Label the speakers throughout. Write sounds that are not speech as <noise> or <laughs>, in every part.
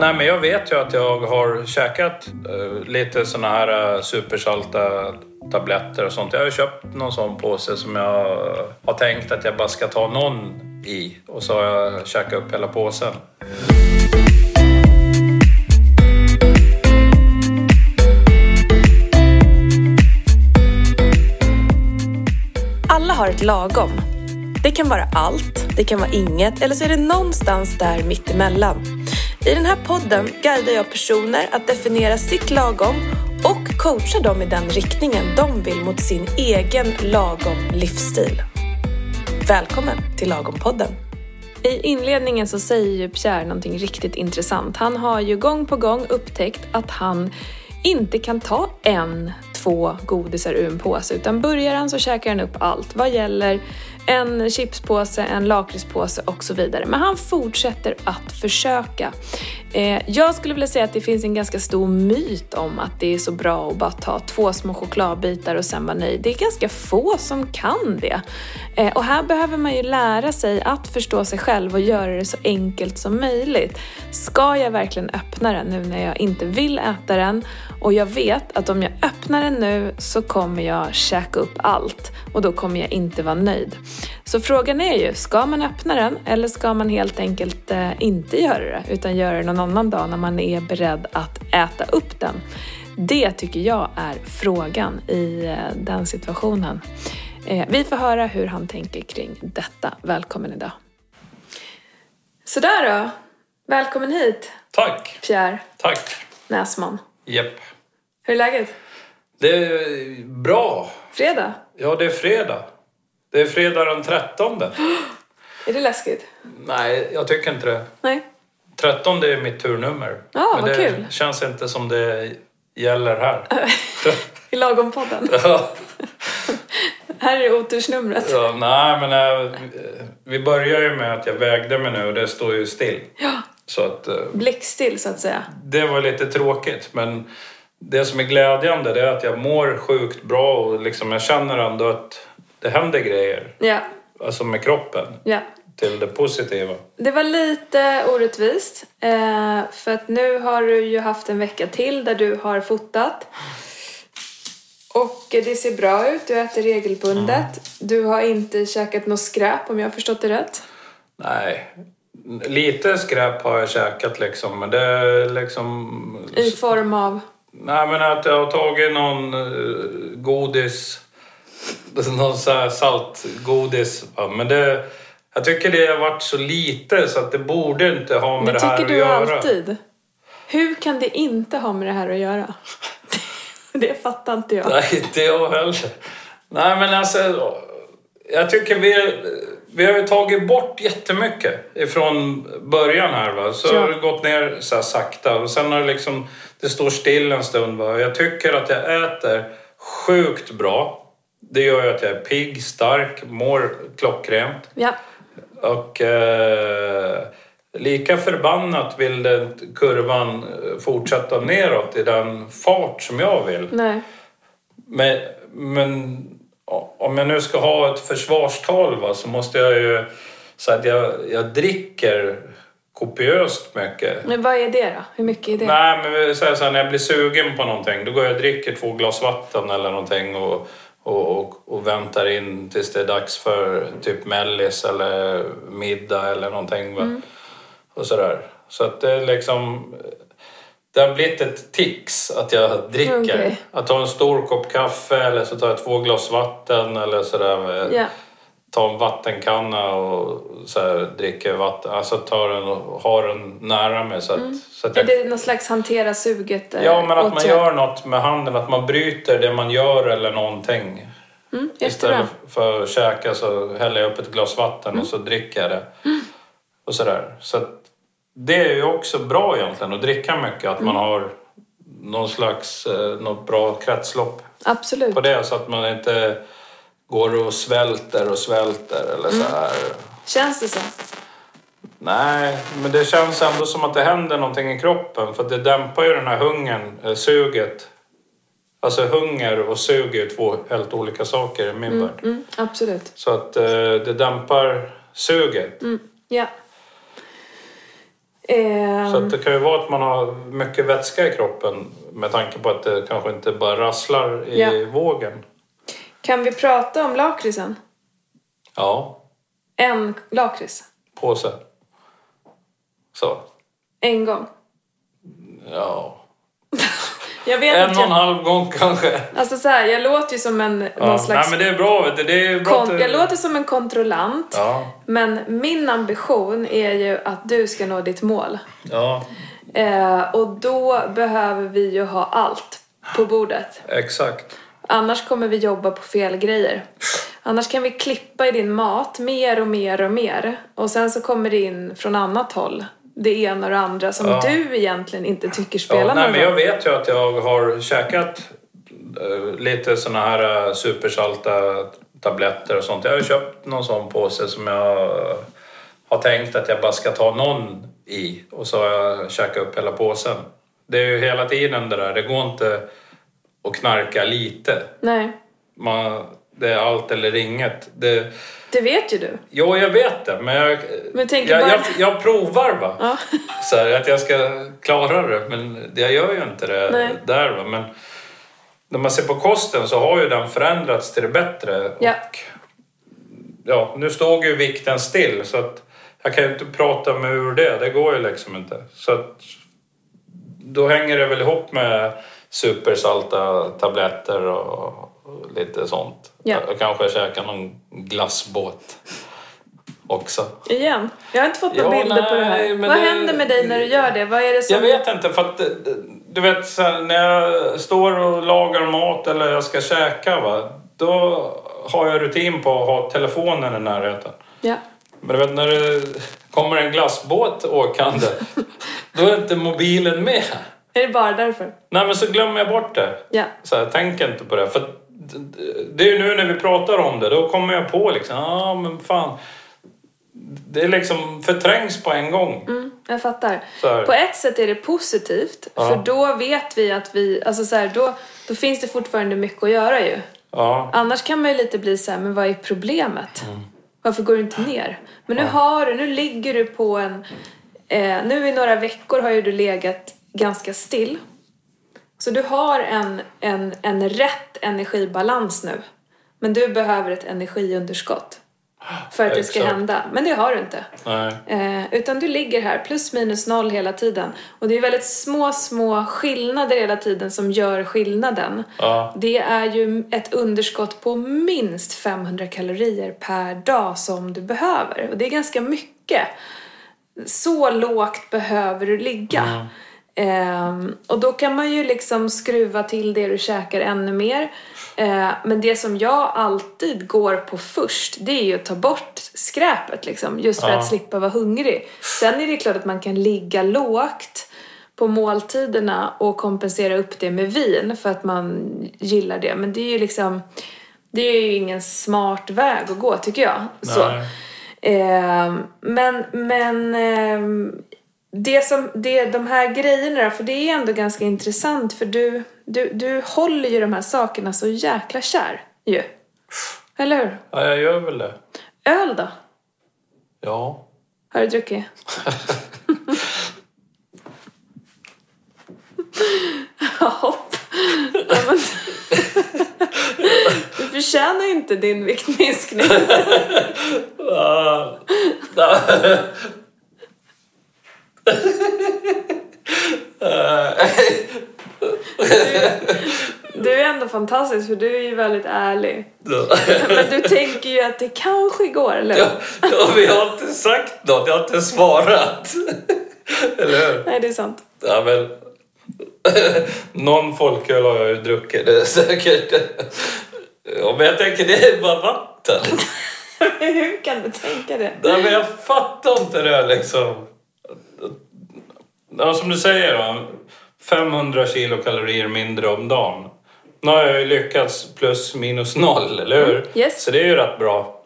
Speaker 1: Nej, men jag vet ju att jag har käkat eh, lite såna här eh, supersalta tabletter och sånt. Jag har ju köpt någon sån påse som jag har tänkt att jag bara ska ta någon i och så har jag käkat upp hela påsen.
Speaker 2: Alla har ett lagom. Det kan vara allt, det kan vara inget eller så är det någonstans där mittemellan. I den här podden guidar jag personer att definiera sitt lagom och coachar dem i den riktningen de vill mot sin egen lagom livsstil. Välkommen till Lagom-podden! I inledningen så säger ju Pierre någonting riktigt intressant. Han har ju gång på gång upptäckt att han inte kan ta en, två godisar ur en påse utan börjar han så käkar han upp allt vad gäller en chipspåse, en lakritspåse och så vidare. Men han fortsätter att försöka. Eh, jag skulle vilja säga att det finns en ganska stor myt om att det är så bra att bara ta två små chokladbitar och sen vara nöjd. Det är ganska få som kan det. Eh, och här behöver man ju lära sig att förstå sig själv och göra det så enkelt som möjligt. Ska jag verkligen öppna den nu när jag inte vill äta den? Och jag vet att om jag öppnar den nu så kommer jag käka upp allt och då kommer jag inte vara nöjd. Så frågan är ju, ska man öppna den eller ska man helt enkelt eh, inte göra det utan göra det någon annan dag när man är beredd att äta upp den? Det tycker jag är frågan i eh, den situationen. Eh, Vi får höra hur han tänker kring detta. Välkommen idag. Sådär då. Välkommen hit,
Speaker 1: Tack!
Speaker 2: Pierre
Speaker 1: Tack!
Speaker 2: Näsman.
Speaker 1: Jepp.
Speaker 2: Hur är läget?
Speaker 1: Det är bra.
Speaker 2: Fredag?
Speaker 1: Ja, det är fredag. Det är fredag den 13.
Speaker 2: Är det läskigt?
Speaker 1: Nej, jag tycker inte det.
Speaker 2: Nej?
Speaker 1: 13 det är mitt turnummer.
Speaker 2: Ja,
Speaker 1: Men
Speaker 2: Ah, vad
Speaker 1: det
Speaker 2: kul.
Speaker 1: känns inte som det gäller här. <laughs>
Speaker 2: I Lagom-podden.
Speaker 1: ja,
Speaker 2: Här är otursnumret.
Speaker 1: ja, nej, men eh, vi börjar ju med att jag vägde mig nu och det står ju still.
Speaker 2: Ja.
Speaker 1: Så att eh,
Speaker 2: Blickstill, så att säga.
Speaker 1: det var lite tråkigt. Men det som är glädjande det är att jag mår sjukt bra och liksom jag känner ändå att det händer grejer.
Speaker 2: Ja,
Speaker 1: Alltså med kroppen.
Speaker 2: ja.
Speaker 1: Till det positiva.
Speaker 2: Det var lite orättvist. eh, För att nu har du ju haft en vecka till där du har fotat. Och eh, det ser bra ut, du äter regelbundet. Du har inte käkat något skräp om jag har förstått det rätt.
Speaker 1: Nej. Lite skräp har jag käkat liksom, men det är liksom
Speaker 2: I form av...
Speaker 1: Nej, men att jag har tagit någon eh, godis, någon så här saltgodis. Ja, men det, jag tycker det har varit så lite så att det borde inte ha med
Speaker 2: Det
Speaker 1: det, här
Speaker 2: tycker
Speaker 1: att
Speaker 2: du
Speaker 1: göra.
Speaker 2: alltid. Hur kan det inte ha med det här att göra? <laughs> Det fattar inte jag.
Speaker 1: Nej, inte jag heller. Nej, men alltså... Jag tycker vi, vi har ju tagit bort jättemycket ifrån början här. Va? Så
Speaker 2: Ja.
Speaker 1: har det gått ner så här sakta och sen har det liksom... Det står still en stund. Va? Och Jag tycker att jag äter sjukt bra. Det gör ju att jag är pigg, stark, mår klockrent.
Speaker 2: Ja,
Speaker 1: Och eh, lika förbannat vill den kurvan eh, fortsätta neråt i den fart som jag vill.
Speaker 2: nej.
Speaker 1: Men, men ja, om jag nu ska ha ett försvarstal va, så måste jag ju säga att jag, jag dricker kopiöst mycket.
Speaker 2: Men vad är det då? Hur mycket är det?
Speaker 1: Nej, men vi säger så här, när jag blir sugen på någonting då går jag och dricker två glas vatten eller någonting och, och, och, och väntar in tills det är dags för typ mellis eller middag eller någonting. Va?
Speaker 2: Mm.
Speaker 1: Och sådär. Så att det är liksom... Det har blivit ett tics att jag dricker.
Speaker 2: Okej.
Speaker 1: Att ta en stor kopp kaffe eller så tar jag två glas vatten eller sådär. va.
Speaker 2: Ja.
Speaker 1: Ta en vattenkanna och så här, dricker vatten. Alltså tar den och har den nära mig så att, så att
Speaker 2: Är
Speaker 1: jag
Speaker 2: Mm. det någon slags hantera suget? eh,
Speaker 1: Ja, men att man
Speaker 2: åtgärd?
Speaker 1: gör något med handen, att man bryter det man gör eller någonting.
Speaker 2: Mm, jättebra.
Speaker 1: Istället
Speaker 2: Mm.
Speaker 1: för att käka så häller jag upp ett glas vatten och så dricker jag det. Och sådär. Så att det är ju också bra egentligen att dricka mycket, att
Speaker 2: Mm.
Speaker 1: man har någon slags, eh, något bra kretslopp
Speaker 2: Absolut.
Speaker 1: på det så att man inte går och svälter och svälter eller
Speaker 2: Mm.
Speaker 1: så här.
Speaker 2: Känns det så?
Speaker 1: Nej, men det känns ändå som att det händer någonting i kroppen för att det dämpar ju den här hungern, eh, suget. Alltså hunger och sug är ju två helt olika saker i min värld.
Speaker 2: Mm, absolut.
Speaker 1: Så att eh, det dämpar suget.
Speaker 2: Mm, ja. Ehm,
Speaker 1: Så att det kan ju vara att man har mycket vätska i kroppen med tanke på att det kanske inte bara rasslar i
Speaker 2: Ja.
Speaker 1: vågen.
Speaker 2: Kan vi prata om lakritsen?
Speaker 1: Ja,
Speaker 2: En lakrits.
Speaker 1: påse. Så,
Speaker 2: En gång.
Speaker 1: ja.
Speaker 2: Jag vet
Speaker 1: En
Speaker 2: att
Speaker 1: och en
Speaker 2: jag...
Speaker 1: halv gång kanske.
Speaker 2: Alltså så här, jag låter ju som en någon
Speaker 1: Ja. Nej
Speaker 2: slags...
Speaker 1: men det är bra, vet du. det är bra
Speaker 2: kon-
Speaker 1: att du-
Speaker 2: jag låter som en kontrollant.
Speaker 1: Ja,
Speaker 2: Men min ambition är ju att du ska nå ditt mål.
Speaker 1: ja,
Speaker 2: Eh, och då behöver vi ju ha allt på bordet.
Speaker 1: exakt.
Speaker 2: Annars kommer vi jobba på fel grejer. Annars kan vi klippa i din mat mer och mer och mer. Och sen så kommer det in från annat håll. Det ena och det andra som
Speaker 1: Ja.
Speaker 2: du egentligen inte tycker spelar
Speaker 1: Ja,
Speaker 2: någon
Speaker 1: nej, men jag
Speaker 2: roll.
Speaker 1: vet ju att jag har käkat eh, lite såna här eh, supersalta tabletter och sånt. Jag har ju köpt någon sån påse som jag eh, har tänkt att jag bara ska ta någon i och så har jag käkat upp hela påsen. Det är ju hela tiden det där, det går inte att knarka lite.
Speaker 2: Nej,
Speaker 1: Man, det är allt eller inget. Det,
Speaker 2: det vet ju du.
Speaker 1: jo, jag vet det, men jag,
Speaker 2: Men tänk
Speaker 1: jag,
Speaker 2: bara-
Speaker 1: jag, jag provar bara
Speaker 2: Ja.
Speaker 1: <laughs> så här, att jag ska klara det, men jag gör ju inte det
Speaker 2: Nej.
Speaker 1: där. Va? Men när man ser på kosten så har ju den förändrats till det bättre. Och,
Speaker 2: Ja.
Speaker 1: ja, nu stod ju vikten still så att jag kan ju inte prata mig ur det. Det går ju liksom inte. Så att, då hänger det väl ihop med supersalta tabletter och och lite sånt.
Speaker 2: Ja.
Speaker 1: Och kanske käka någon glassbåt också.
Speaker 2: Igen. Jag har inte fått några
Speaker 1: Ja,
Speaker 2: bilder på det
Speaker 1: nej,
Speaker 2: här.
Speaker 1: men
Speaker 2: Vad
Speaker 1: det-
Speaker 2: händer med dig när du gör det? Vad är det som...
Speaker 1: Jag vet inte, för att eh, du vet så här, när jag står och lagar mat eller jag ska käka va, då har jag rutin på att ha telefonen i närheten.
Speaker 2: Ja.
Speaker 1: Men du vet när det kommer en glassbåt åkande, då är inte mobilen med.
Speaker 2: Är det bara därför?
Speaker 1: Nej men så glömmer jag bort det.
Speaker 2: Ja.
Speaker 1: Så här, tänk inte på det. För att d- d- det är ju nu när vi pratar om det, då kommer jag på liksom, ja ah, men fan. Det är liksom förträngs på en gång.
Speaker 2: Mm, jag fattar.
Speaker 1: Så här.
Speaker 2: På ett sätt är det positivt,
Speaker 1: Ja.
Speaker 2: för då vet vi att vi... Alltså så här, då, då finns det fortfarande mycket att göra ju.
Speaker 1: Ja. Mm.
Speaker 2: Annars kan man ju lite bli så här, men vad är problemet? Varför går du inte ner? Men nu har du, nu ligger du på en... Eh, nu i några veckor har ju du legat ganska still. Så du har en, en, en rätt energibalans nu. Men du behöver ett energiunderskott för att det ska
Speaker 1: Exakt.
Speaker 2: hända. Men det har du inte.
Speaker 1: Nej.
Speaker 2: Eh, utan du ligger här plus minus noll hela tiden. Och det är väldigt små, små skillnader hela tiden som gör skillnaden.
Speaker 1: Ja.
Speaker 2: Det är ju ett underskott på minst 500 kalorier per dag som du behöver. Och det är ganska mycket. Så lågt behöver du ligga. Ehm, och då kan man ju liksom skruva till det du käkar ännu mer. Eh, men det som jag alltid går på först, det är ju att ta bort skräpet liksom. Just för
Speaker 1: Ja.
Speaker 2: att slippa vara hungrig. Sen är det klart att man kan ligga lågt på måltiderna och kompensera upp det med vin för att man gillar det. Men det är ju liksom, det är ju ingen smart väg att gå tycker jag. Så.
Speaker 1: Nej.
Speaker 2: Ehm, men men ehm, det som, det, de här grejerna då, för det är ändå ganska intressant för du, du, du håller ju de här sakerna så jäkla kär ju. Eller hur?
Speaker 1: Ja, jag gör väl det.
Speaker 2: Öl då?
Speaker 1: Ja. <laughs>
Speaker 2: Har du druckit? Ja, Hopp. Ja, men... Du förtjänar ju inte din viktminskning. Du är ändå fantastisk för du är ju väldigt ärlig. Men du tänker ju att det kanske går, eller hur?
Speaker 1: ja, vi har inte sagt något, jag har inte svarat. Eller hur?
Speaker 2: Nej, det är sant.
Speaker 1: Ja, men... <laughs> Någon folköl har jag ju druckit, det är säkert. Ja, men jag tänker, det är bara vatten.
Speaker 2: <laughs> Hur kan du tänka det?
Speaker 1: Nej, men jag fattar inte det här, liksom. Ja, som du säger, va? 500 kilokalorier mindre om dagen. Nu har jag ju lyckats plus minus noll, eller hur?
Speaker 2: Mm, yes.
Speaker 1: Så det är ju rätt bra.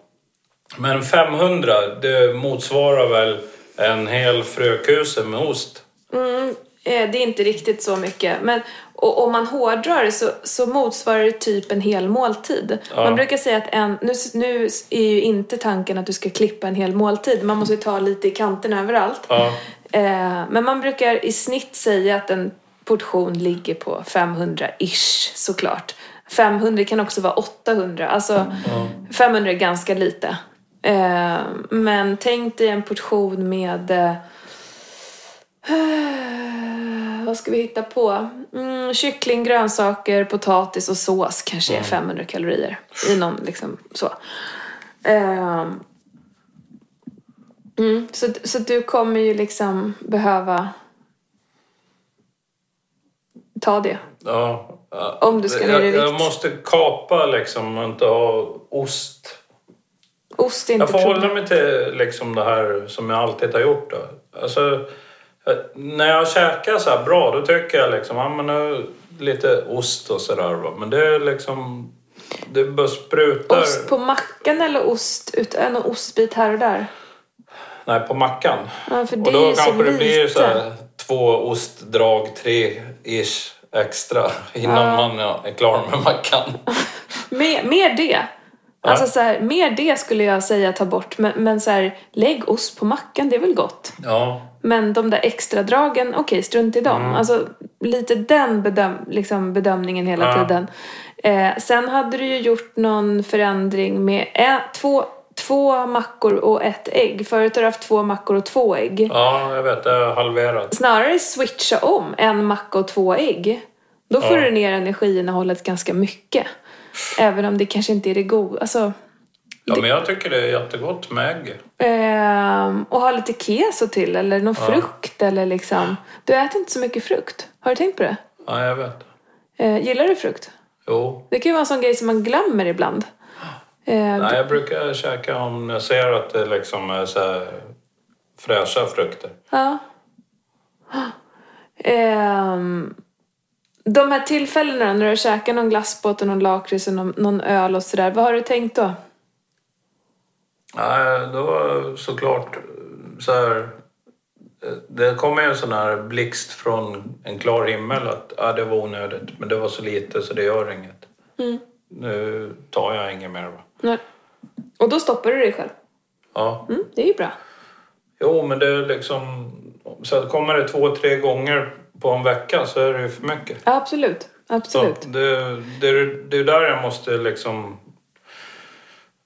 Speaker 1: Men 500, det motsvarar väl en hel frökuse med ost?
Speaker 2: Mm, eh, det är inte riktigt så mycket. Men, Och om man hårdrar det så, så motsvarar det typ en hel måltid.
Speaker 1: Ja.
Speaker 2: Man brukar säga att en, nu, nu är ju inte tanken att du ska klippa en hel måltid. Man måste ju ta lite i kanten överallt.
Speaker 1: Ja.
Speaker 2: Eh, men man brukar i snitt säga att en portion ligger på 500-ish såklart. 500 kan också vara 800, alltså
Speaker 1: Mm.
Speaker 2: 500 är ganska lite. Eh, men tänk dig en portion med eh, Eh, vad ska vi hitta på? Mm, kyckling, grönsaker, potatis och sås kanske
Speaker 1: Mm.
Speaker 2: är 500 kalorier. I någon liksom så. Ehm, mm, så. Så du kommer ju liksom behöva ta det.
Speaker 1: Ja. ja.
Speaker 2: Om du ska ner i
Speaker 1: jag, jag
Speaker 2: vikt.
Speaker 1: måste kapa liksom och inte ha ost.
Speaker 2: Ost är inte
Speaker 1: Jag får
Speaker 2: problem.
Speaker 1: hålla mig till liksom det här som jag alltid har gjort. Då. Alltså, jag- när jag käkar så här bra då tycker jag liksom, ja, men nu, lite ost och sådär. Men det är liksom, det bara sprutar.
Speaker 2: Ost på mackan eller ost utan en ostbit här och där?
Speaker 1: Nej, på mackan.
Speaker 2: Ja, för det
Speaker 1: och då
Speaker 2: är ju så
Speaker 1: kanske det blir
Speaker 2: lite.
Speaker 1: så här, två ostdrag, tre ish extra <laughs> innan man ja, är klar med mackan.
Speaker 2: Mer, mer det. Alltså så här, mer det skulle jag säga ta bort. Men, men så här, lägg ost på mackan, det är väl gott?
Speaker 1: Ja,
Speaker 2: Men de där extra dragen, okej, strunt i dem. Alltså lite den bedöm liksom bedömningen hela
Speaker 1: Ja.
Speaker 2: tiden. Eh, sen hade du ju gjort någon förändring med en, två, två mackor och ett ägg. Förut har du haft två mackor och två ägg.
Speaker 1: ja jag vet, det har jag halverat.
Speaker 2: Snarare switcha om en macka och två ägg. Då får
Speaker 1: Ja.
Speaker 2: du ner energiinnehållet ganska mycket. Även om det kanske inte är det goda. Alltså,
Speaker 1: Ja, men jag tycker det är jättegott med ägg.
Speaker 2: ehm, och ha lite keso till eller någon frukt eller liksom. Du äter inte så mycket frukt. Har du tänkt på det?
Speaker 1: Ja, jag vet.
Speaker 2: Eh, gillar du frukt?
Speaker 1: Jo.
Speaker 2: Det kan ju vara en sån grej som man glömmer ibland. Eh,
Speaker 1: Nej, jag brukar käka om jag ser att det liksom är så här fräscha frukter.
Speaker 2: Ja. Ehm, de här tillfällena när du har käkat någon glassbåt och någon lakrits och någon, någon öl och sådär. Vad har du tänkt då?
Speaker 1: Nej, då såklart så här... Det kommer ju en sån här blixt från en klar himmel att ja, det var onödigt, men det var så lite så det gör inget. Nu tar jag inget mer. Va?
Speaker 2: Nej. Och då stoppar du dig själv.
Speaker 1: Ja.
Speaker 2: Mm, det är ju bra.
Speaker 1: Jo, men det är liksom... Så att kommer det två, tre gånger på en vecka så är det ju för mycket.
Speaker 2: Ja, absolut.
Speaker 1: Så
Speaker 2: Absolut.
Speaker 1: det, det, det är där jag måste liksom...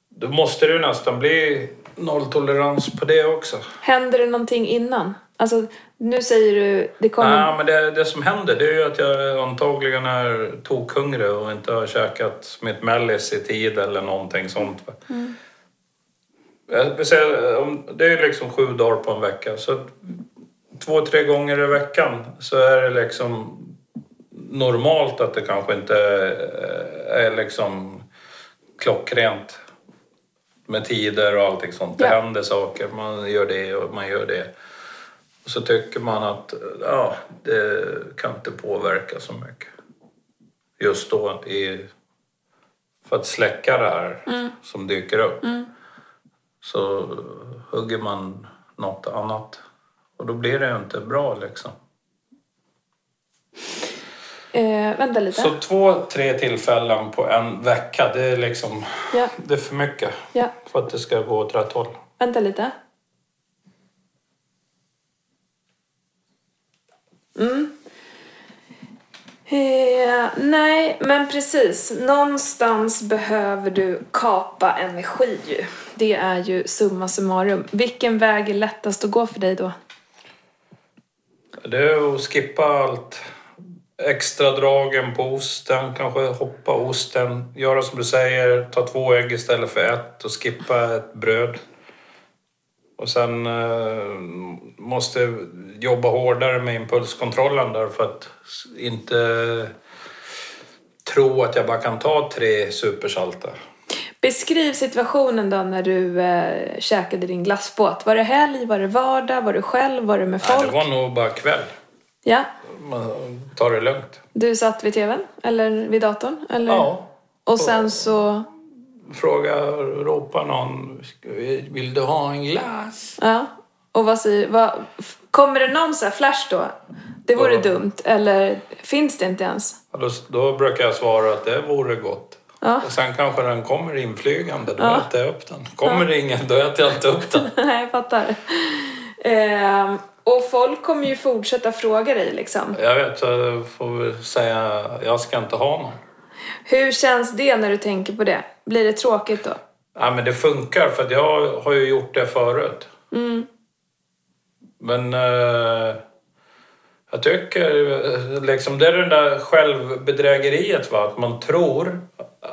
Speaker 1: Då måste det ju nästan bli nolltolerans på det också.
Speaker 2: Händer det någonting innan? Alltså, nu säger du... Det kommer...
Speaker 1: Nej, men det, det som händer det är ju att jag antagligen är tokhungrig och inte har käkat mitt mellis i tid eller någonting sånt. va. Jag vill säga, om- det är liksom sju dagar på en vecka. Så två, tre gånger i veckan så är det liksom normalt att det kanske inte eh, är liksom klockrent med tider och allting sånt. Det
Speaker 2: Ja.
Speaker 1: händer saker, man gör det och man gör det. Och så tycker man att ja, det kan inte påverka så mycket. Just då i, för att släcka det här
Speaker 2: Mm.
Speaker 1: som dyker upp så hugger man något annat. Och då blir det ju inte bra liksom.
Speaker 2: Eh, vänta lite.
Speaker 1: Så två, tre tillfällen på en vecka, det är liksom...
Speaker 2: Ja,
Speaker 1: Det är för mycket
Speaker 2: ja.
Speaker 1: för att det ska gå åt rätt håll.
Speaker 2: Vänta lite. Mm. Eh, nej, men precis. Någonstans behöver du kapa energi ju. Det är ju summa summarum. Vilken väg är lättast att gå för dig då?
Speaker 1: Det är att skippa allt. Extra dragen på osten, kanske hoppa osten. Göra som du säger, ta två ägg istället för ett och skippa ett bröd. Och sen eh, måste jobba hårdare med impulskontrollen där för att s- inte tro att jag bara kan ta tre supersalta.
Speaker 2: Beskriv situationen då när du eh, käkade din glassbåt. Var det helg? Var det vardag? Var du själv? Var du med
Speaker 1: Nej,
Speaker 2: folk?
Speaker 1: det var nog bara kväll.
Speaker 2: Ja.
Speaker 1: Man tar det lugnt.
Speaker 2: Du satt vid tvn? Eller vid datorn? Eller?
Speaker 1: Ja.
Speaker 2: Och sen så...
Speaker 1: Fråga, ropa någon. Vill du ha en glass?
Speaker 2: Ja. Och vad säger... Vad, f- kommer det någon så här flash då? Det vore
Speaker 1: Ja.
Speaker 2: dumt. Eller finns det inte ens? <laughs>
Speaker 1: Ja, Då, då brukar jag svara att det vore gott.
Speaker 2: Ja.
Speaker 1: Och sen kanske den kommer inflygande, då
Speaker 2: Ja.
Speaker 1: äter jag upp den. Kommer det ingen, då äter jag inte upp den.
Speaker 2: Nej, jag fattar. Ehm, och folk kommer ju fortsätta fråga dig liksom.
Speaker 1: Jag vet, så jag får väl säga jag ska inte ha någon.
Speaker 2: Hur känns det när du tänker på det? Blir det tråkigt då?
Speaker 1: Ja, men det funkar för att jag har ju gjort det förut. Men eh, jag tycker eh, liksom det är det där självbedrägeriet va? att man tror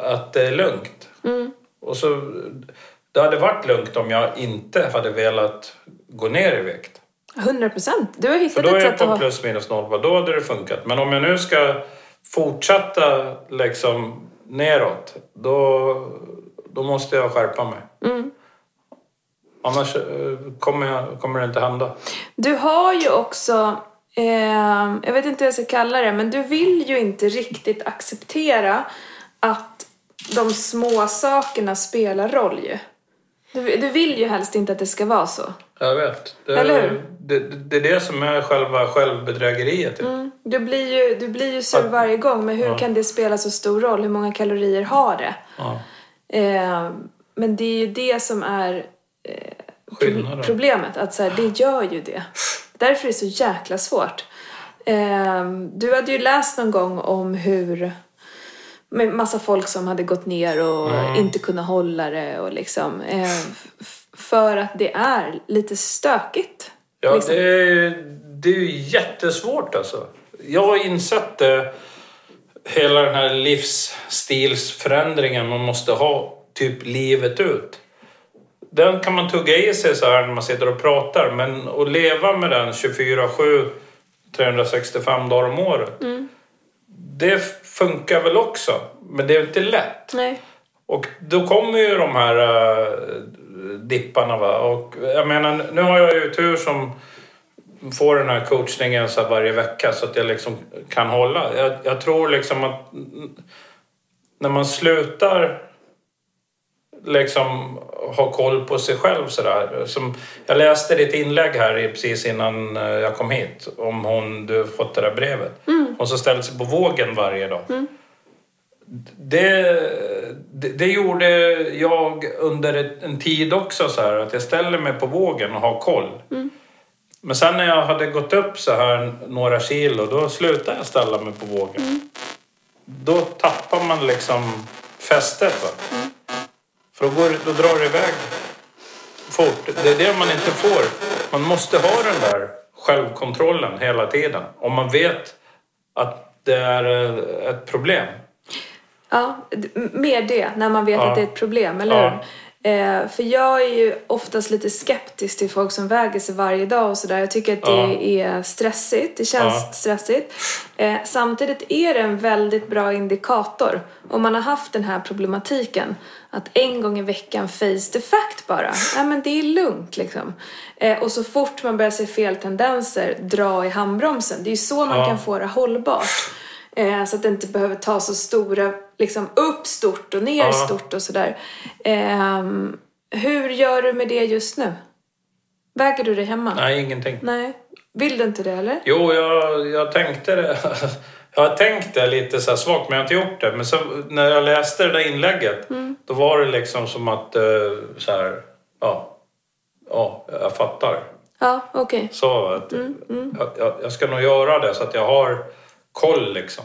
Speaker 1: att det är lugnt. Och så, det hade varit lugnt om jag inte hade velat gå ner i vikt.
Speaker 2: 100 procent. Du har
Speaker 1: För
Speaker 2: hittat
Speaker 1: då är
Speaker 2: ett
Speaker 1: jag
Speaker 2: sätt att
Speaker 1: på
Speaker 2: ha...
Speaker 1: plus minus noll, va, då hade det funkat. Men om jag nu ska fortsätta liksom neråt, då, då måste jag skärpa mig.
Speaker 2: Mm.
Speaker 1: Annars eh, kommer, jag, kommer det inte hända.
Speaker 2: Du har ju också... ehm, jag vet inte hur jag ska kalla det, men du vill ju inte riktigt acceptera att de små sakerna spelar roll ju. Du, du vill ju helst inte att det ska vara så.
Speaker 1: Jag vet. Det,
Speaker 2: Eller hur?
Speaker 1: Det, det, det är det som är själva självbedrägeriet.
Speaker 2: Mm. Du, blir ju, du blir ju sur varje gång, men hur kan det spela så stor roll? Hur många kalorier har det?
Speaker 1: Ja.
Speaker 2: Eh, men det är ju det som är eh,
Speaker 1: Skillnaden.
Speaker 2: pro- problemet. Att så här, det gör ju det. Därför är det så jäkla svårt. Eh, du hade ju läst någon gång om hur med massa folk som hade gått ner och inte kunnat hålla det och liksom eh, f- för att det är lite stökigt.
Speaker 1: Ja,
Speaker 2: liksom.
Speaker 1: det, är, det är ju jättesvårt alltså. Jag har insett det, hela den här livsstilsförändringen man måste ha typ livet ut. Den kan man tugga i sig så här när man sitter och pratar men att leva med den 24-7, 365 dagar om året. Det funkar väl också, men det är inte lätt.
Speaker 2: Nej.
Speaker 1: Och då kommer ju de här äh, dipparna. Va? Och jag menar, nu har jag ju tur som får den här coachningen så här varje vecka så att jag liksom kan hålla. Jag, jag tror liksom att mm, när man slutar liksom ha koll på sig själv sådär. Som, jag läste ditt inlägg här i- precis innan eh, jag kom hit om hon du fått det där brevet. Hon som ställde sig på vågen varje dag. Det, det, det gjorde jag under ett- en tid också så här att jag ställer mig på vågen och har koll. Men sen när jag hade gått upp så här några kilo då slutade jag ställa mig på vågen. Då tappar man liksom fästet va. För då, går, då drar det iväg fort. Det är det man inte får. Man måste ha den där självkontrollen hela tiden. Om man vet att det är eh, ett problem.
Speaker 2: Ja, d- m- mer det, när man vet
Speaker 1: Ja.
Speaker 2: att det är ett problem, eller
Speaker 1: Ja.
Speaker 2: hur? Eh, för jag är ju oftast lite skeptisk till folk som väger sig varje dag och sådär. Jag tycker att det är stressigt, det känns
Speaker 1: Ja.
Speaker 2: stressigt. Eh, samtidigt är det en väldigt bra indikator om man har haft den här problematiken. Att en gång i veckan face the fact bara. Ja men det är lugnt liksom. Eh, och så fort man börjar se fel tendenser, dra i handbromsen. Det är ju så man
Speaker 1: Ja.
Speaker 2: kan få det hållbart. Eh, så att det inte behöver ta så stora, liksom upp stort och ner
Speaker 1: Ja.
Speaker 2: stort och sådär. Ehm, hur gör du med det just nu? Väger du dig hemma?
Speaker 1: Nej, ingenting.
Speaker 2: Nej. Vill du inte det eller?
Speaker 1: Jo, jag, jag tänkte det. <laughs> Jag har tänkt det lite så här svagt, men jag har inte gjort det. Men så, när jag läste det där inlägget, då var det liksom som att eh, så här, ja, ja, jag fattar.
Speaker 2: Ja, okej.
Speaker 1: Så att Jag, jag, jag ska nog göra det så att jag har koll liksom.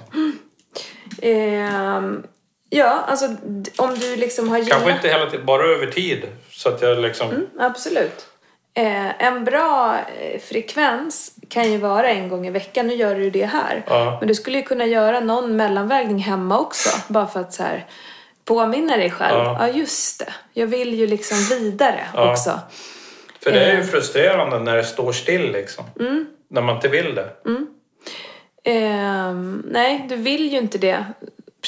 Speaker 2: Ehm, ja, alltså d- om du liksom har
Speaker 1: Kanske
Speaker 2: gillat-
Speaker 1: inte hela tiden, bara över tid. Så att jag liksom,
Speaker 2: Mm. Absolut. Eh, en bra eh, frekvens kan ju vara en gång i veckan. Nu gör du ju det här.
Speaker 1: Ja.
Speaker 2: Men du skulle ju kunna göra någon mellanvägning hemma också. Bara för att så här, påminna dig själv. Ja.
Speaker 1: Ja.
Speaker 2: just det. Jag vill ju liksom vidare
Speaker 1: Ja.
Speaker 2: också.
Speaker 1: för det är ju frustrerande när det står still liksom. När man inte vill det.
Speaker 2: Ehm, nej, du vill ju inte det.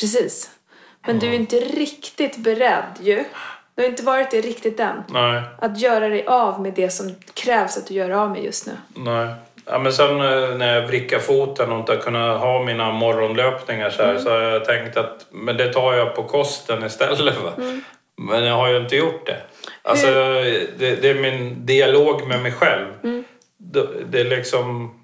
Speaker 2: Precis. Men
Speaker 1: Mm.
Speaker 2: du är inte riktigt beredd ju. Du har inte varit det riktigt än.
Speaker 1: Nej.
Speaker 2: Att göra dig av med det som krävs att du gör av med just nu.
Speaker 1: Nej. Ja, men sen eh, när jag vrickade foten och inte har kunnat ha mina morgonlöpningar så, här,
Speaker 2: Mm.
Speaker 1: så har jag tänkt att men det tar jag på kosten istället. Va?
Speaker 2: Mm.
Speaker 1: Men jag har ju inte gjort det. Alltså, det, det är
Speaker 2: Mm.
Speaker 1: min dialog med mig själv. Det, det är liksom...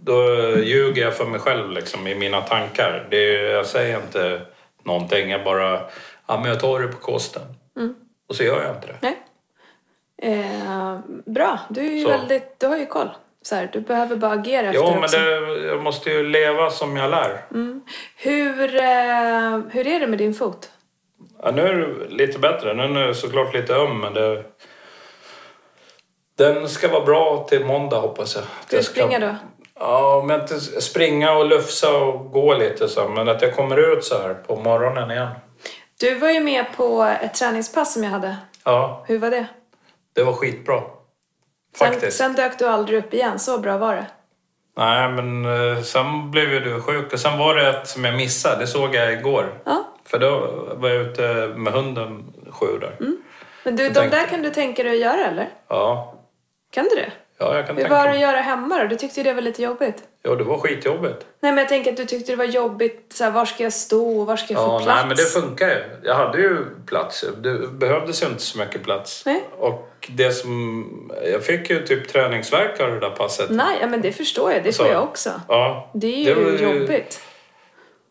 Speaker 1: då ljuger jag för mig själv liksom, i mina tankar. Det, är- jag säger inte någonting, jag bara... Ja, men jag tar det på kosten.
Speaker 2: Mm.
Speaker 1: Och så gör jag inte det.
Speaker 2: Nej. Eh, bra, du, är ju
Speaker 1: Så.
Speaker 2: väldigt, du har ju koll. Så här, du behöver bara agera
Speaker 1: Jo,
Speaker 2: efter
Speaker 1: men
Speaker 2: också.
Speaker 1: det, jag måste ju leva som jag lär.
Speaker 2: Mm. Hur, eh, hur är det med din fot?
Speaker 1: Ja, nu är det lite bättre. Nu är det såklart lite öm, men det... Den ska vara bra till måndag, hoppas jag. Att
Speaker 2: Ska du
Speaker 1: jag ska-
Speaker 2: springa då?
Speaker 1: Ja, men inte springa och lufsa och gå lite så. Men att jag kommer ut så här på morgonen igen.
Speaker 2: Du var ju med på ett träningspass som jag hade.
Speaker 1: Ja,
Speaker 2: Hur var det?
Speaker 1: det var skitbra.
Speaker 2: Sen,
Speaker 1: Faktiskt.
Speaker 2: sen dök du aldrig upp igen, så bra var det.
Speaker 1: Nej, men eh, sen blev ju du sjuk. Och sen var det ett som jag missade. Det såg jag igår.
Speaker 2: Ja.
Speaker 1: För då var jag ute med hunden sju där.
Speaker 2: Mm. Men du, de
Speaker 1: tänkte-
Speaker 2: där kan du tänka dig att göra eller?
Speaker 1: Ja.
Speaker 2: Kan du det?
Speaker 1: ja, jag kan
Speaker 2: Hur
Speaker 1: tänka
Speaker 2: var det att
Speaker 1: mig.
Speaker 2: göra hemma då? Du tyckte ju det var lite jobbigt.
Speaker 1: Ja, det var skitjobbigt.
Speaker 2: Nej men jag tänker att du tyckte det var jobbigt, så här, var ska jag stå och var ska jag
Speaker 1: Ja,
Speaker 2: få plats?
Speaker 1: nej men det funkar ju. Jag hade ju plats. Det behövdes ju inte så mycket plats.
Speaker 2: Nej.
Speaker 1: Och det som... Jag fick ju typ träningsvärk av det där passet.
Speaker 2: Nej, ja, men det förstår jag. Det
Speaker 1: Så.
Speaker 2: får jag också.
Speaker 1: Ja.
Speaker 2: Det är
Speaker 1: var
Speaker 2: ju jobbigt.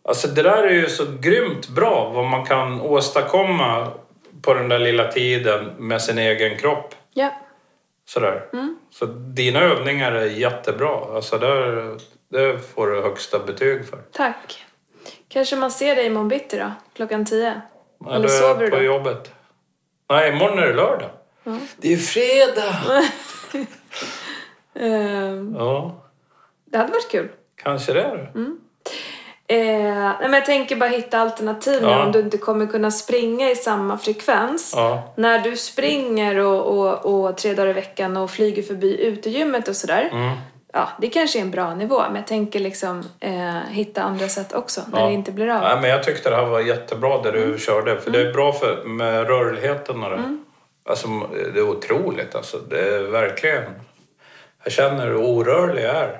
Speaker 1: Alltså det där är ju så grymt bra vad man kan åstadkomma på den där lilla tiden med sin egen kropp.
Speaker 2: Ja.
Speaker 1: Sådär.
Speaker 2: Mm.
Speaker 1: Så dina övningar är jättebra. Alltså där, det får du högsta betyg för.
Speaker 2: Tack. Kanske man ser dig imorgon bitti då, klockan tio.
Speaker 1: Ja,
Speaker 2: Eller
Speaker 1: är
Speaker 2: sover du
Speaker 1: på
Speaker 2: då?
Speaker 1: jobbet. Nej, imorgon är det lördag. Det är ju fredag!
Speaker 2: Ehm,
Speaker 1: Ja,
Speaker 2: det hade varit kul.
Speaker 1: kanske det är det.
Speaker 2: Mm. Eh, nej, men jag tänker bara hitta alternativ nu
Speaker 1: Ja.
Speaker 2: om du inte kommer kunna springa i samma frekvens.
Speaker 1: Ja.
Speaker 2: När du springer och, och, och tre dagar i veckan och flyger förbi utegymmet och sådär.
Speaker 1: Mm.
Speaker 2: Ja, det kanske är en bra nivå, men jag tänker liksom eh, hitta andra sätt också när
Speaker 1: Ja.
Speaker 2: det inte blir av. Mm.
Speaker 1: Nej, men jag tyckte det här var jättebra det du körde. För det är bra för, med rörligheten och det. Alltså, det är otroligt alltså. Det är verkligen... Jag känner hur orörlig jag är.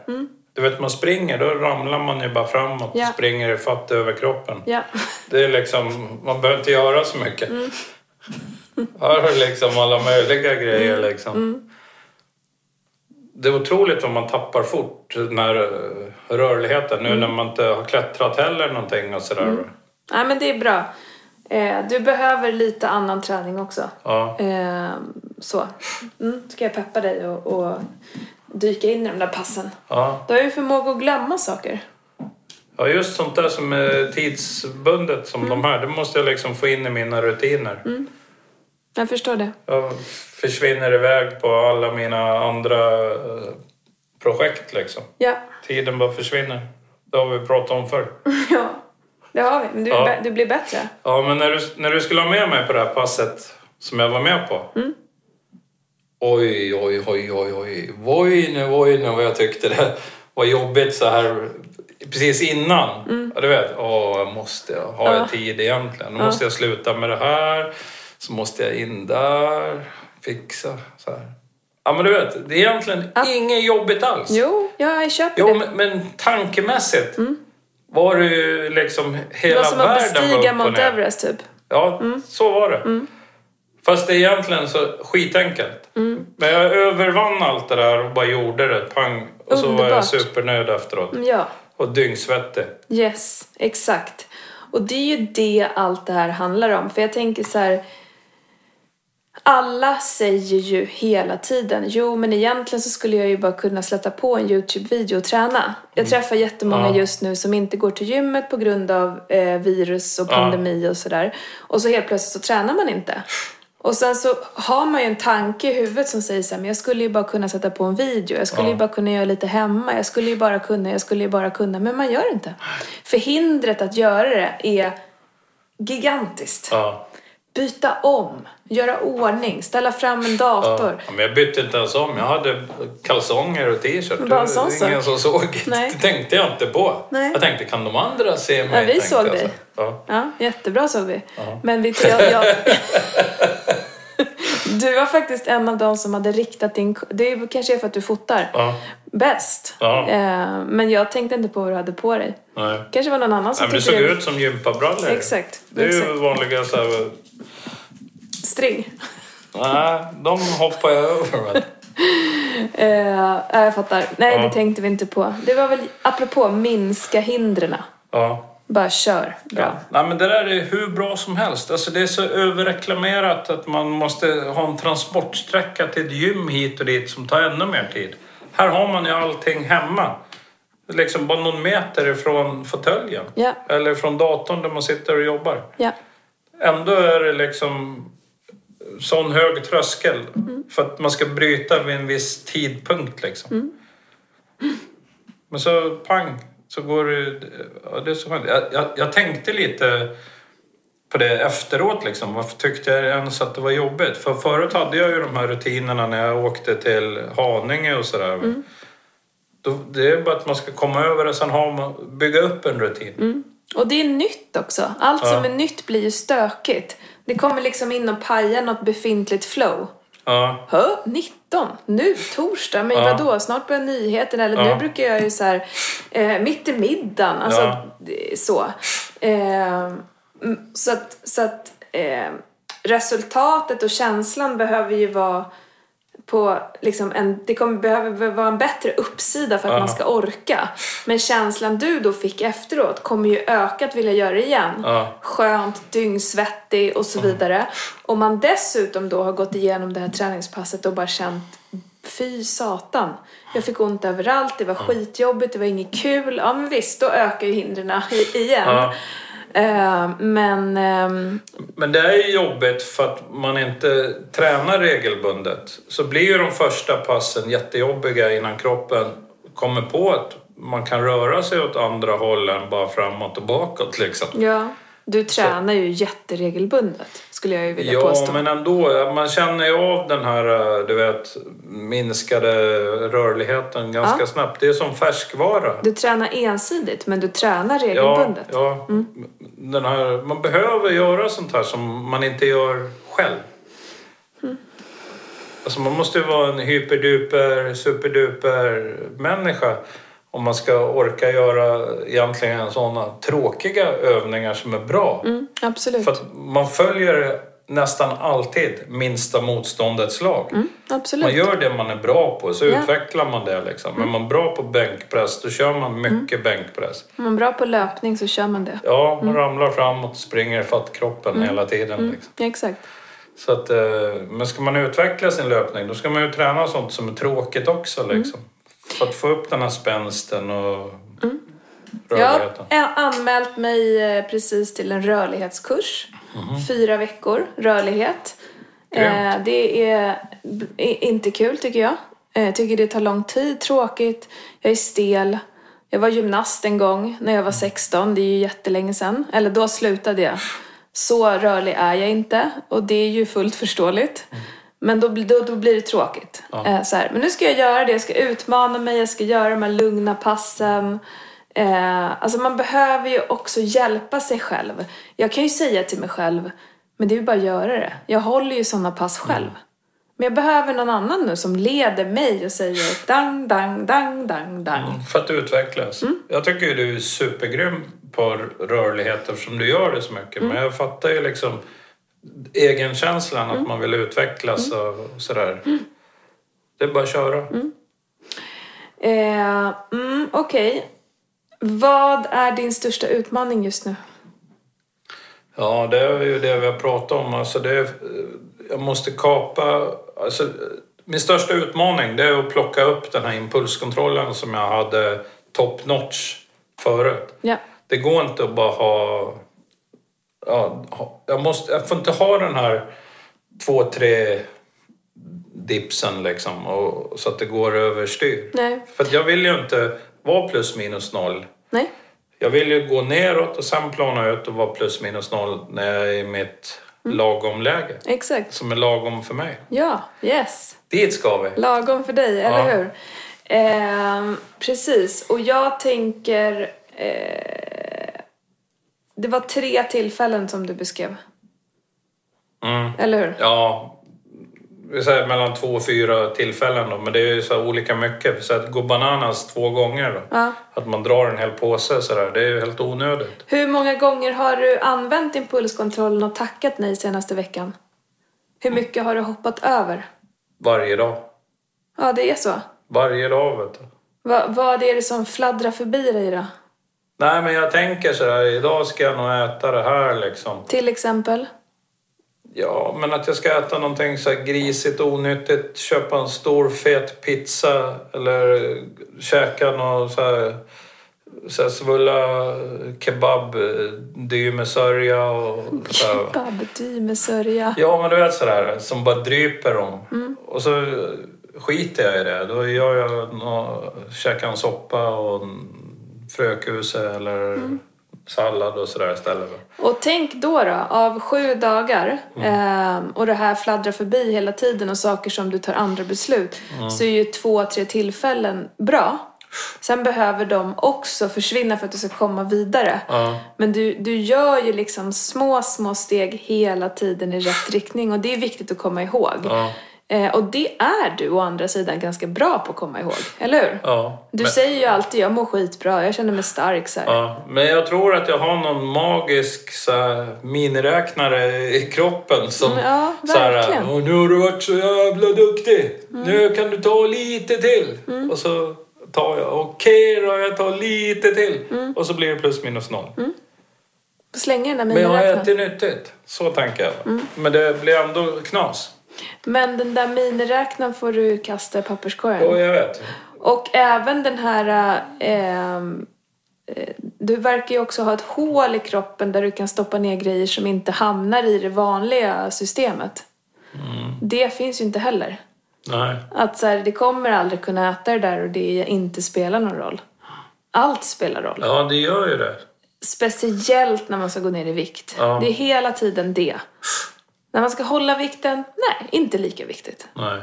Speaker 1: Du vet, man springer, då ramlar man ju bara framåt.
Speaker 2: Mm. Ja.
Speaker 1: Springer i fatt över kroppen.
Speaker 2: Ja.
Speaker 1: Det är liksom... Man behöver inte göra så mycket. Här har du liksom alla möjliga grejer liksom. Det är otroligt vad man tappar fort när eh, rörligheten. Nu när man inte har klättrat heller någonting och sådär. va.
Speaker 2: Nej, men det är bra. Eh, du behöver lite annan träning också.
Speaker 1: Ja.
Speaker 2: Eh, så. Mm, ska jag peppa dig och, och dyka in i de där passen.
Speaker 1: Ja.
Speaker 2: Du har ju förmåga att glömma saker.
Speaker 1: ja, just sånt där som är tidsbundet som de här. Det måste jag liksom få in i mina rutiner.
Speaker 2: Jag förstår det.
Speaker 1: Jag försvinner iväg på alla mina andra eh, projekt liksom.
Speaker 2: Ja, <laughs>
Speaker 1: Tiden bara försvinner. Det har vi pratat om förr.
Speaker 2: ja. det har vi. Men du,
Speaker 1: Ja.
Speaker 2: du blir bättre.
Speaker 1: Ja, men när du, när du skulle ha med mig på det här passet som jag var med på. Oj, oj, oj, oj, oj. Oj nu, oj nu vad jag tyckte det var jobbigt så här precis innan. Ja, du vet, åh, jag måste har jag tid egentligen? Då måste jag sluta med det här. Så måste jag in där, fixa så här. Ja, men du vet, det är egentligen inget jobbigt alls.
Speaker 2: Jo, ja, jag köper
Speaker 1: Jo,
Speaker 2: det.
Speaker 1: men, men tankemässigt var det ju liksom
Speaker 2: Det
Speaker 1: hela
Speaker 2: var som att
Speaker 1: världen var upp
Speaker 2: bestiga
Speaker 1: och
Speaker 2: Mount
Speaker 1: ner.
Speaker 2: Everest Mm. typ.
Speaker 1: Ja, så var det. Fast det är egentligen så skitenkelt.
Speaker 2: Mm.
Speaker 1: Men jag övervann allt det där och bara gjorde det. Pang. Och så var
Speaker 2: Underbart.
Speaker 1: jag supernöjd efteråt.
Speaker 2: Mm, Ja,
Speaker 1: Och dyngsvettig.
Speaker 2: yes, exakt. Och det är ju det allt det här handlar om. För jag tänker så här... Alla säger ju hela tiden, jo men egentligen så skulle jag ju bara kunna släppa på en Youtube-video och träna. Jag träffar jättemånga
Speaker 1: Mm. Ja.
Speaker 2: just nu som inte går till gymmet på grund av eh, virus och
Speaker 1: Ja.
Speaker 2: pandemi och sådär. Och så helt plötsligt så tränar man inte. Och sen så har man ju en tanke i huvudet som säger så här, men jag skulle ju bara kunna sätta på en video, jag skulle ju bara kunna göra lite hemma, jag skulle ju bara kunna, jag skulle ju bara kunna. Men man gör inte. För hindret att göra det är gigantiskt.
Speaker 1: Ja.
Speaker 2: Byta om, göra ordning, ställa fram en dator.
Speaker 1: Ja, men jag bytte inte ens om. Jag hade kalsonger och t-shirt.
Speaker 2: Bara en sån
Speaker 1: Det var ingen som såg.
Speaker 2: Nej.
Speaker 1: Det tänkte jag inte på.
Speaker 2: Nej.
Speaker 1: Jag tänkte, kan de andra se mig?
Speaker 2: Ja, vi
Speaker 1: Tänkte
Speaker 2: såg
Speaker 1: jag så här.
Speaker 2: dig.
Speaker 1: Ja.
Speaker 2: Ja, jättebra såg vi. Men vet du, jag, jag... <laughs> Du var faktiskt en av dem som hade riktat din... Det kanske är för att du fotar.
Speaker 1: Ja.
Speaker 2: Bäst.
Speaker 1: Ja.
Speaker 2: Eh, Men jag tänkte inte på vad du hade på dig.
Speaker 1: Nej.
Speaker 2: kanske var någon annan som
Speaker 1: Nej, men det
Speaker 2: tyckte
Speaker 1: såg ut som gympabrallor.
Speaker 2: Exakt,
Speaker 1: Det är ju
Speaker 2: exakt.
Speaker 1: vanliga så här...
Speaker 2: String.
Speaker 1: Nej, de hoppar jag över. vet du.
Speaker 2: Eh, ja, jag fattar. Nej,
Speaker 1: Ja.
Speaker 2: det tänkte vi inte på. Det var väl apropå minska hindren.
Speaker 1: Ja.
Speaker 2: Bara kör. Bra.
Speaker 1: Ja. Nej, men det där är hur bra som helst. Alltså, det är så överreklamerat att man måste ha en transportsträcka till ett gym hit och dit som tar ännu mer tid. Här har man ju allting hemma. Liksom bara någon meter ifrån fåtöljen.
Speaker 2: Ja.
Speaker 1: Eller från datorn där man sitter och jobbar.
Speaker 2: Ja.
Speaker 1: Ändå är det liksom sån hög tröskel för att man ska bryta vid en viss tidpunkt liksom. Men så pang, så går det... Ja, det är så skönt. Jag, jag, jag tänkte lite på det efteråt liksom. Varför tyckte jag ens att det var jobbigt? För förut hade jag ju de här rutinerna när jag åkte till Haninge och sådär. Då, det är bara att man ska komma över det, sen har man, bygga upp en rutin.
Speaker 2: Och det är nytt också. Allt som är nytt blir ju stökigt. Det kommer liksom in och pajar något befintligt flow.
Speaker 1: Ja.
Speaker 2: Hö? 19? Nu? Torsdag? Men
Speaker 1: Ja.
Speaker 2: vadå? Snart börjar nyheten. Eller nu
Speaker 1: Ja.
Speaker 2: brukar jag ju så här, eh, mitt i middagen. Alltså,
Speaker 1: Ja.
Speaker 2: det- så. Eh, mm, så att, så att eh, resultatet och känslan behöver ju vara på liksom en, det kommer, behöver vara en bättre uppsida för att
Speaker 1: Ja.
Speaker 2: man ska orka. Men känslan du då fick efteråt kommer ju öka att vilja göra det igen
Speaker 1: Ja.
Speaker 2: skönt, dyngsvettig och så vidare. Om man dessutom då har gått igenom det här träningspasset och bara känt fy satan, jag fick ont överallt, det var skitjobbigt, det var inget kul. Ja men visst, då ökar ju hindren i- igen.
Speaker 1: Ja.
Speaker 2: Eh, men ehm,
Speaker 1: Men det är ju jobbigt för att man inte tränar regelbundet. Så blir ju de första passen jättejobbiga innan kroppen kommer på att man kan röra sig åt andra håll än bara framåt och bakåt liksom.
Speaker 2: ja, du tränar ju jätteregelbundet skulle jag ju vilja
Speaker 1: Ja,
Speaker 2: påstå.
Speaker 1: men ändå. ja, Man känner ju av den här, eh, du vet, minskade rörligheten ganska
Speaker 2: Ja.
Speaker 1: snabbt. Det är som färskvara.
Speaker 2: Du tränar ensidigt men du tränar
Speaker 1: Ja,
Speaker 2: regelbundet. Mm.
Speaker 1: ja. Den här, man behöver göra sånt här som man inte gör själv.
Speaker 2: Mm.
Speaker 1: Alltså man måste ju vara en hyperduper, superduper människa om man ska orka göra egentligen sådana tråkiga övningar som är bra.
Speaker 2: Mm, absolut.
Speaker 1: För att man följer nästan alltid minsta motståndets lag.
Speaker 2: Mm, absolut.
Speaker 1: Man gör det man är bra på, så
Speaker 2: Ja. Mm.
Speaker 1: utvecklar man det liksom. Men man är bra på bänkpress, då kör man mycket bänkpress.
Speaker 2: Om man är bra på löpning så kör man det.
Speaker 1: Ja, man ramlar framåt, springer ifatt kroppen hela tiden. Liksom.
Speaker 2: Ja, exakt.
Speaker 1: Så att, eh, men ska man utveckla sin löpning då ska man ju träna sånt som är tråkigt också. Liksom. För att få upp den här spänsten och
Speaker 2: Jag
Speaker 1: rörligheten.
Speaker 2: har anmält mig eh, precis till en rörlighetskurs. Fyra veckor rörlighet.
Speaker 1: Mhm. Grymt.
Speaker 2: Eh, Det är b- i- inte kul tycker jag. Eh, Jag tycker det tar lång tid, tråkigt, jag är stel. Jag var gymnast en gång när jag var 16, det är ju jättelänge sedan. Eller då slutade jag. Så rörlig är jag inte och det är ju fullt förståeligt. Men då, blir- då, då blir det tråkigt. Eh, Så här. Men nu ska jag göra det, jag ska utmana mig, jag ska göra de här lugna passen. Eh, alltså man behöver ju också hjälpa sig själv. Jag kan ju säga till mig själv, men det är ju bara att göra det. Jag håller ju sådana pass
Speaker 1: Mm.
Speaker 2: själv. Men jag behöver någon annan nu som leder mig och säger dang, dang, dang, dang, dang.
Speaker 1: För att utvecklas. Jag tycker ju du är supergrym på r- rörlighet eftersom du gör det så mycket. Men jag fattar ju liksom egenkänslan att man vill utvecklas och, och sådär. Det är bara att köra.
Speaker 2: Eh, mm, Okej. Vad är din största utmaning just nu?
Speaker 1: Ja, det är ju det vi har pratat om. Alltså det är, jag måste kapa... Alltså, min största utmaning det är att plocka upp den här impulskontrollen som jag hade top notch förut.
Speaker 2: Ja,
Speaker 1: Det går inte att bara ha... Ja, ha- jag, måste, jag får inte ha den här två, tre dipsen liksom och, så att det går överstyr.
Speaker 2: nej,
Speaker 1: För att jag vill ju inte vara plus minus noll
Speaker 2: nej,
Speaker 1: jag vill ju gå neråt och sen plana ut och vara plus minus noll när jag är i mitt lagomläge.
Speaker 2: exakt.
Speaker 1: Som är lagom för mig.
Speaker 2: Ja, yes.
Speaker 1: Dit ska vi.
Speaker 2: Lagom för dig, eller
Speaker 1: Ja.
Speaker 2: hur? Ehm, precis, och jag tänker... Eh, det var tre tillfällen som du beskrev,
Speaker 1: Mm.
Speaker 2: eller hur?
Speaker 1: Ja, vi säger mellan två och fyra tillfällen då. Men det är ju så här olika mycket. Så att gå bananas två gånger då.
Speaker 2: Ja.
Speaker 1: Att man drar en hel påse sådär, det är ju helt onödigt.
Speaker 2: Hur många gånger har du använt impulskontrollen och tackat nej senaste veckan? Hur mycket har du hoppat över?
Speaker 1: Varje dag.
Speaker 2: Ja, det är så.
Speaker 1: Varje dag vet du.
Speaker 2: Va, vad är det som fladdrar förbi dig då?
Speaker 1: Nej men jag tänker sådär, idag ska jag nog äta det här liksom.
Speaker 2: Till exempel?
Speaker 1: Ja, men att jag ska äta någonting så här grisigt, onyttigt, köpa en stor fet pizza eller käka någon så här, så här svulla kebab, dy med sörja och så
Speaker 2: <laughs>
Speaker 1: här.
Speaker 2: Kebabdy med sörja.
Speaker 1: Ja, men du vet sådär som bara dryper om. Och så skiter jag i det. Då gör jag nå, käkar en soppa och en frökuse eller sallad och sådär istället.
Speaker 2: Och tänk då då, av sju dagar
Speaker 1: Mm.
Speaker 2: ehm, och det här fladdrar förbi hela tiden och saker som du tar andra beslut
Speaker 1: Mm.
Speaker 2: så är ju två, tre tillfällen bra. Sen behöver de också försvinna för att du ska komma vidare.
Speaker 1: Ja.
Speaker 2: Men du, du gör ju liksom små, små steg hela tiden i rätt riktning och det är viktigt att komma ihåg.
Speaker 1: Ja.
Speaker 2: Eh, och det är du å andra sidan ganska bra på att komma ihåg, eller hur?
Speaker 1: Ja.
Speaker 2: Du
Speaker 1: men,
Speaker 2: säger ju alltid jag mår skitbra, jag känner mig stark så här.
Speaker 1: ja. men jag tror att jag har någon magisk så här, miniräknare i kroppen som
Speaker 2: Mm, ja,
Speaker 1: så här,
Speaker 2: verkligen. Mm.
Speaker 1: "Åh, nu har du varit så jävla duktig. Nu kan du ta lite till. Och så tar jag, okej då, jag tar lite till.
Speaker 2: Mm.
Speaker 1: Och så blir det plus minus noll.
Speaker 2: Slänger den där
Speaker 1: Men jag har
Speaker 2: miniräknaren.
Speaker 1: ätit nyttigt. Så tänker jag.
Speaker 2: Mm.
Speaker 1: Men det blir ändå knas.
Speaker 2: Men den där miniräknaren får du kasta i papperskorgen.
Speaker 1: Oh, Ja, jag vet.
Speaker 2: Och även den här... Eh, eh, du verkar ju också ha ett hål i kroppen där du kan stoppa ner grejer som inte hamnar i det vanliga systemet.
Speaker 1: Mm.
Speaker 2: Det finns ju inte heller.
Speaker 1: Nej.
Speaker 2: Att så här, det kommer aldrig kunna äta det där och det inte spelar någon roll. Allt spelar roll.
Speaker 1: Ja, det gör ju det.
Speaker 2: Speciellt när man ska gå ner i vikt.
Speaker 1: Ja.
Speaker 2: Det är hela tiden det. När man ska hålla vikten, nej, inte lika viktigt.
Speaker 1: Nej.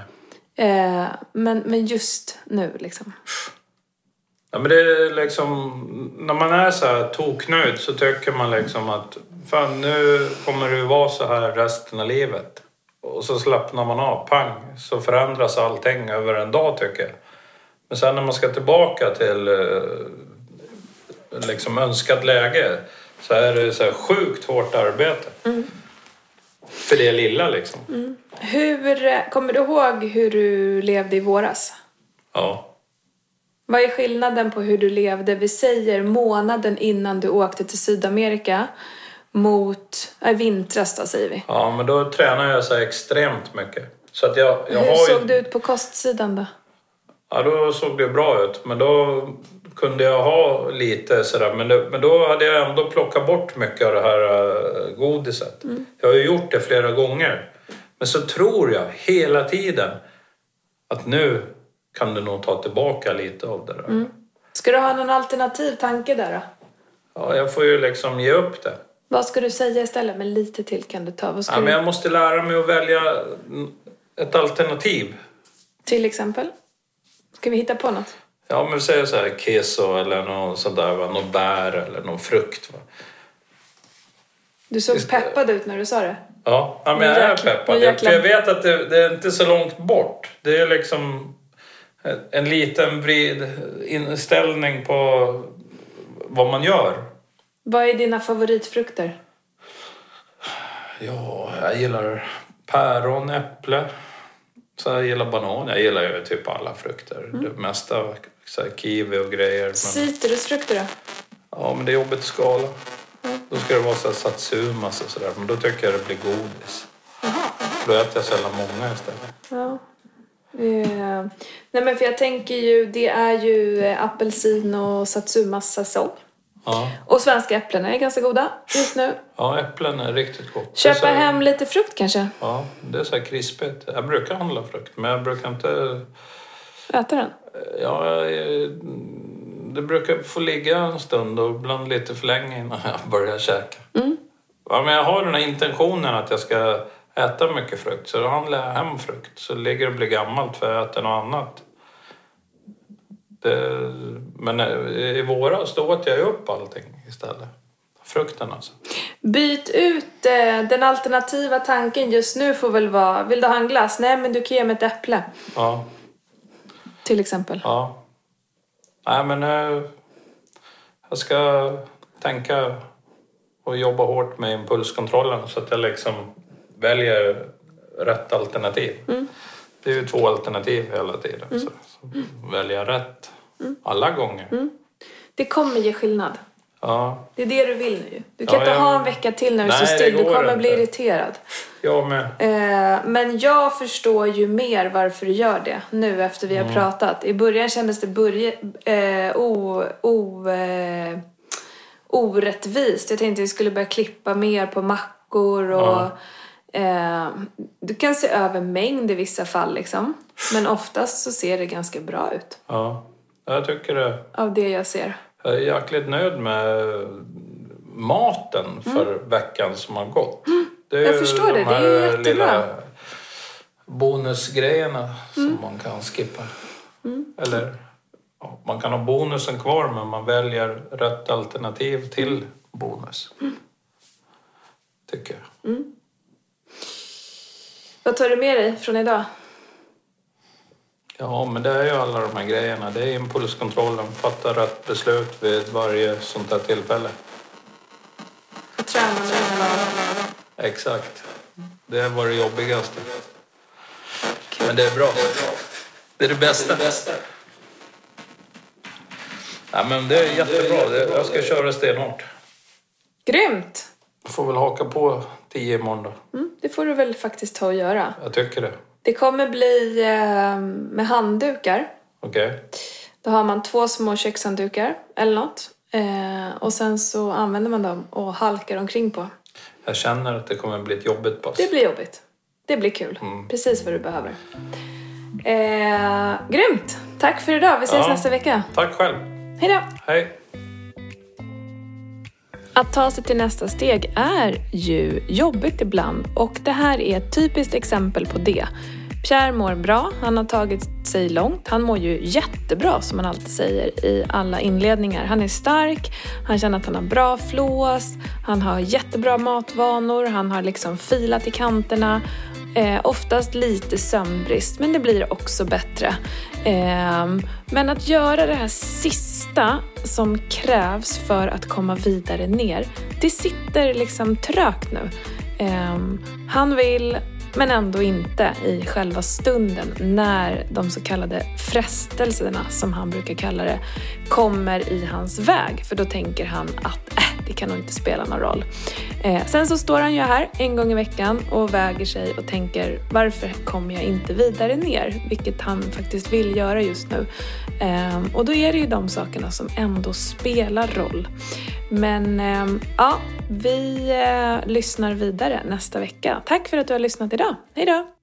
Speaker 2: Eh, men, men just nu liksom.
Speaker 1: Ja, men det är liksom... När man är så här toknöjd så tycker man liksom att fan, nu kommer det ju vara så här resten av livet. Och så slappnar man av, pang, så förändras allting över en dag tycker jag. Men sen när man ska tillbaka till eh, liksom önskat läge så är det så här sjukt hårt arbete.
Speaker 2: Mm.
Speaker 1: För det lilla liksom.
Speaker 2: Hur, eh, kommer du ihåg hur du levde i våras?
Speaker 1: Ja.
Speaker 2: Vad är skillnaden på hur du levde, vi säger månaden innan du åkte till Sydamerika mot, äh, vintras då säger vi.
Speaker 1: ja, men då tränar jag så här extremt mycket. Så att jag, jag
Speaker 2: hur
Speaker 1: har ju...
Speaker 2: såg du ut på kostsidan då?
Speaker 1: Ja, då såg det bra ut. Men då kunde jag ha lite sådär. Men, det, men då hade jag ändå plockat bort mycket av det här eh, godiset. Jag har ju gjort det flera gånger. Men så tror jag hela tiden att nu kan du nog ta tillbaka lite av det där.
Speaker 2: Ska du ha någon alternativ tanke där då?
Speaker 1: Ja, jag får ju liksom ge upp det.
Speaker 2: Vad ska du säga istället? Men lite till kan du ta. Vad ska
Speaker 1: Ja, men
Speaker 2: du...
Speaker 1: jag måste lära mig att välja mm, ett alternativ.
Speaker 2: Till exempel? Ska vi hitta på något?
Speaker 1: Ja, men vi säger så här keso eller något sånt där, va? något bär eller någon frukt. Va?
Speaker 2: Du såg peppad ut när du sa det.
Speaker 1: Ja, ja men
Speaker 2: Nu
Speaker 1: jag är
Speaker 2: jäklar-
Speaker 1: peppad.
Speaker 2: nu
Speaker 1: Jag, för
Speaker 2: jäklar.
Speaker 1: jag vet att det, det är inte så långt bort. Det är liksom en liten vrid inställning på vad man gör.
Speaker 2: Vad är dina favoritfrukter?
Speaker 1: Ja, jag gillar päron, äpple. Så jag gillar banan. Jag gillar ju typ alla frukter. Det mesta, så här, kiwi och grejer. Men,
Speaker 2: Citrusfrukter då?
Speaker 1: ja, men det är jobbigt att skala. Då ska det vara så här satsumas och sådär. Men då tycker jag det blir godis. Då äter jag sällan många istället.
Speaker 2: Ja. Eh, Nej men för jag tänker ju, det är ju eh, apelsin och satsumas säsong.
Speaker 1: Ja.
Speaker 2: Och svenska äpplen är ganska goda just nu.
Speaker 1: Ja, äpplen är riktigt gott. Det är så
Speaker 2: Köpa
Speaker 1: här-
Speaker 2: hem lite frukt kanske?
Speaker 1: Ja, det är så här krispigt. Jag brukar handla frukt, men jag brukar inte...
Speaker 2: Äta den?
Speaker 1: Ja, jag, det brukar få ligga en stund och ibland lite för länge innan <laughs> jag börjar käka.
Speaker 2: Mm.
Speaker 1: Ja, men jag har den här intentionen att jag ska äta mycket frukt, så då handlar jag hem frukt. Så ligger det och blir gammalt för jag äter något annat. Det, men eh, i våras då åt jag ju upp allting istället. Frukten alltså.
Speaker 2: Byt ut eh, den alternativa tanken just nu får väl vara, vill du ha en glass? Nej men du kan ge mig ett äpple.
Speaker 1: Ja.
Speaker 2: Till exempel.
Speaker 1: Ja. Nej, men eh, jag ska tänka och jobba hårt med impulskontrollen så att jag liksom väljer rätt alternativ. det är ju två alternativ hela tiden. Så, så välja rätt. Alla gånger.
Speaker 2: Det kommer ge skillnad.
Speaker 1: Ja,
Speaker 2: Det är det du vill nu. Du kan
Speaker 1: Ja,
Speaker 2: inte
Speaker 1: jag-
Speaker 2: ha en vecka till när du
Speaker 1: Nej,
Speaker 2: står still.
Speaker 1: det
Speaker 2: Du
Speaker 1: går
Speaker 2: kommer bli
Speaker 1: inte.
Speaker 2: irriterad.
Speaker 1: jag med.
Speaker 2: Eh, Men jag förstår ju mer varför du gör det nu efter vi har pratat. I början kändes det börje, eh, o, o, eh, orättvist. Jag tänkte vi skulle börja klippa mer på mackor och... Eh, du kan se över mängd i vissa fall liksom. Men oftast så ser det ganska bra ut
Speaker 1: Ja, jag tycker det.
Speaker 2: av det jag ser.
Speaker 1: Jag är jäkligt nöjd med maten för veckan som har gått. Det är
Speaker 2: Mm. Jag
Speaker 1: ju
Speaker 2: förstår det.
Speaker 1: de
Speaker 2: Det är
Speaker 1: här
Speaker 2: ju jättebra.
Speaker 1: lilla bonusgrejerna som
Speaker 2: Mm.
Speaker 1: man kan skippa. Eller ja, man kan ha bonusen kvar men man väljer rätt alternativ till bonus.
Speaker 2: Mm.
Speaker 1: Tycker jag.
Speaker 2: Vad tar du med dig från idag?
Speaker 1: Ja, men det är ju alla de här grejerna. Det är impulskontrollen, fatta rätt beslut vid varje sånt här tillfälle.
Speaker 2: Att träna med dina barn.
Speaker 1: Exakt. Det var det jobbigaste. Men det är bra. Det är det bästa. Ja, men det är jättebra. Det- Jag ska köra stenhårt.
Speaker 2: Grymt!
Speaker 1: Får väl haka på 10 imorgon då.
Speaker 2: Mm, det får du väl faktiskt ta och göra.
Speaker 1: Jag tycker det.
Speaker 2: Det kommer bli eh, med handdukar.
Speaker 1: Okej.
Speaker 2: Då har man två små kökshanddukar eller något. Eh, och sen så använder man dem och halkar omkring på.
Speaker 1: Jag känner att det kommer bli ett jobbigt pass.
Speaker 2: Det blir jobbigt. Det blir kul. Precis vad du behöver. Eh, grymt! Tack för idag. Vi ses
Speaker 1: Ja.
Speaker 2: nästa vecka.
Speaker 1: Tack själv.
Speaker 2: Hej då!
Speaker 1: Hej.
Speaker 2: Att ta sig till nästa steg är ju jobbigt ibland och det här är ett typiskt exempel på det. Pierre mår bra, han har tagit sig långt, han mår ju jättebra som man alltid säger i alla inledningar. Han är stark, han känner att han har bra flås, han har jättebra matvanor, han har liksom filat i kanterna. Eh, oftast lite sömnbrist, men det blir också bättre. Ehm, men att göra det här sista som krävs för att komma vidare ner, det sitter liksom trögt nu. Ehm, han vill, men ändå inte i själva stunden när de så kallade frestelserna, som han brukar kalla det, kommer i hans väg. För då tänker han att äh, det kan nog inte spela någon roll. Eh, sen så står han ju här en gång i veckan och väger sig och tänker varför kommer jag inte vidare ner? Vilket han faktiskt vill göra just nu. Eh, och då är det ju de sakerna som ändå spelar roll. Men eh, ja, vi eh, lyssnar vidare nästa vecka. Tack för att du har lyssnat idag. Hej då!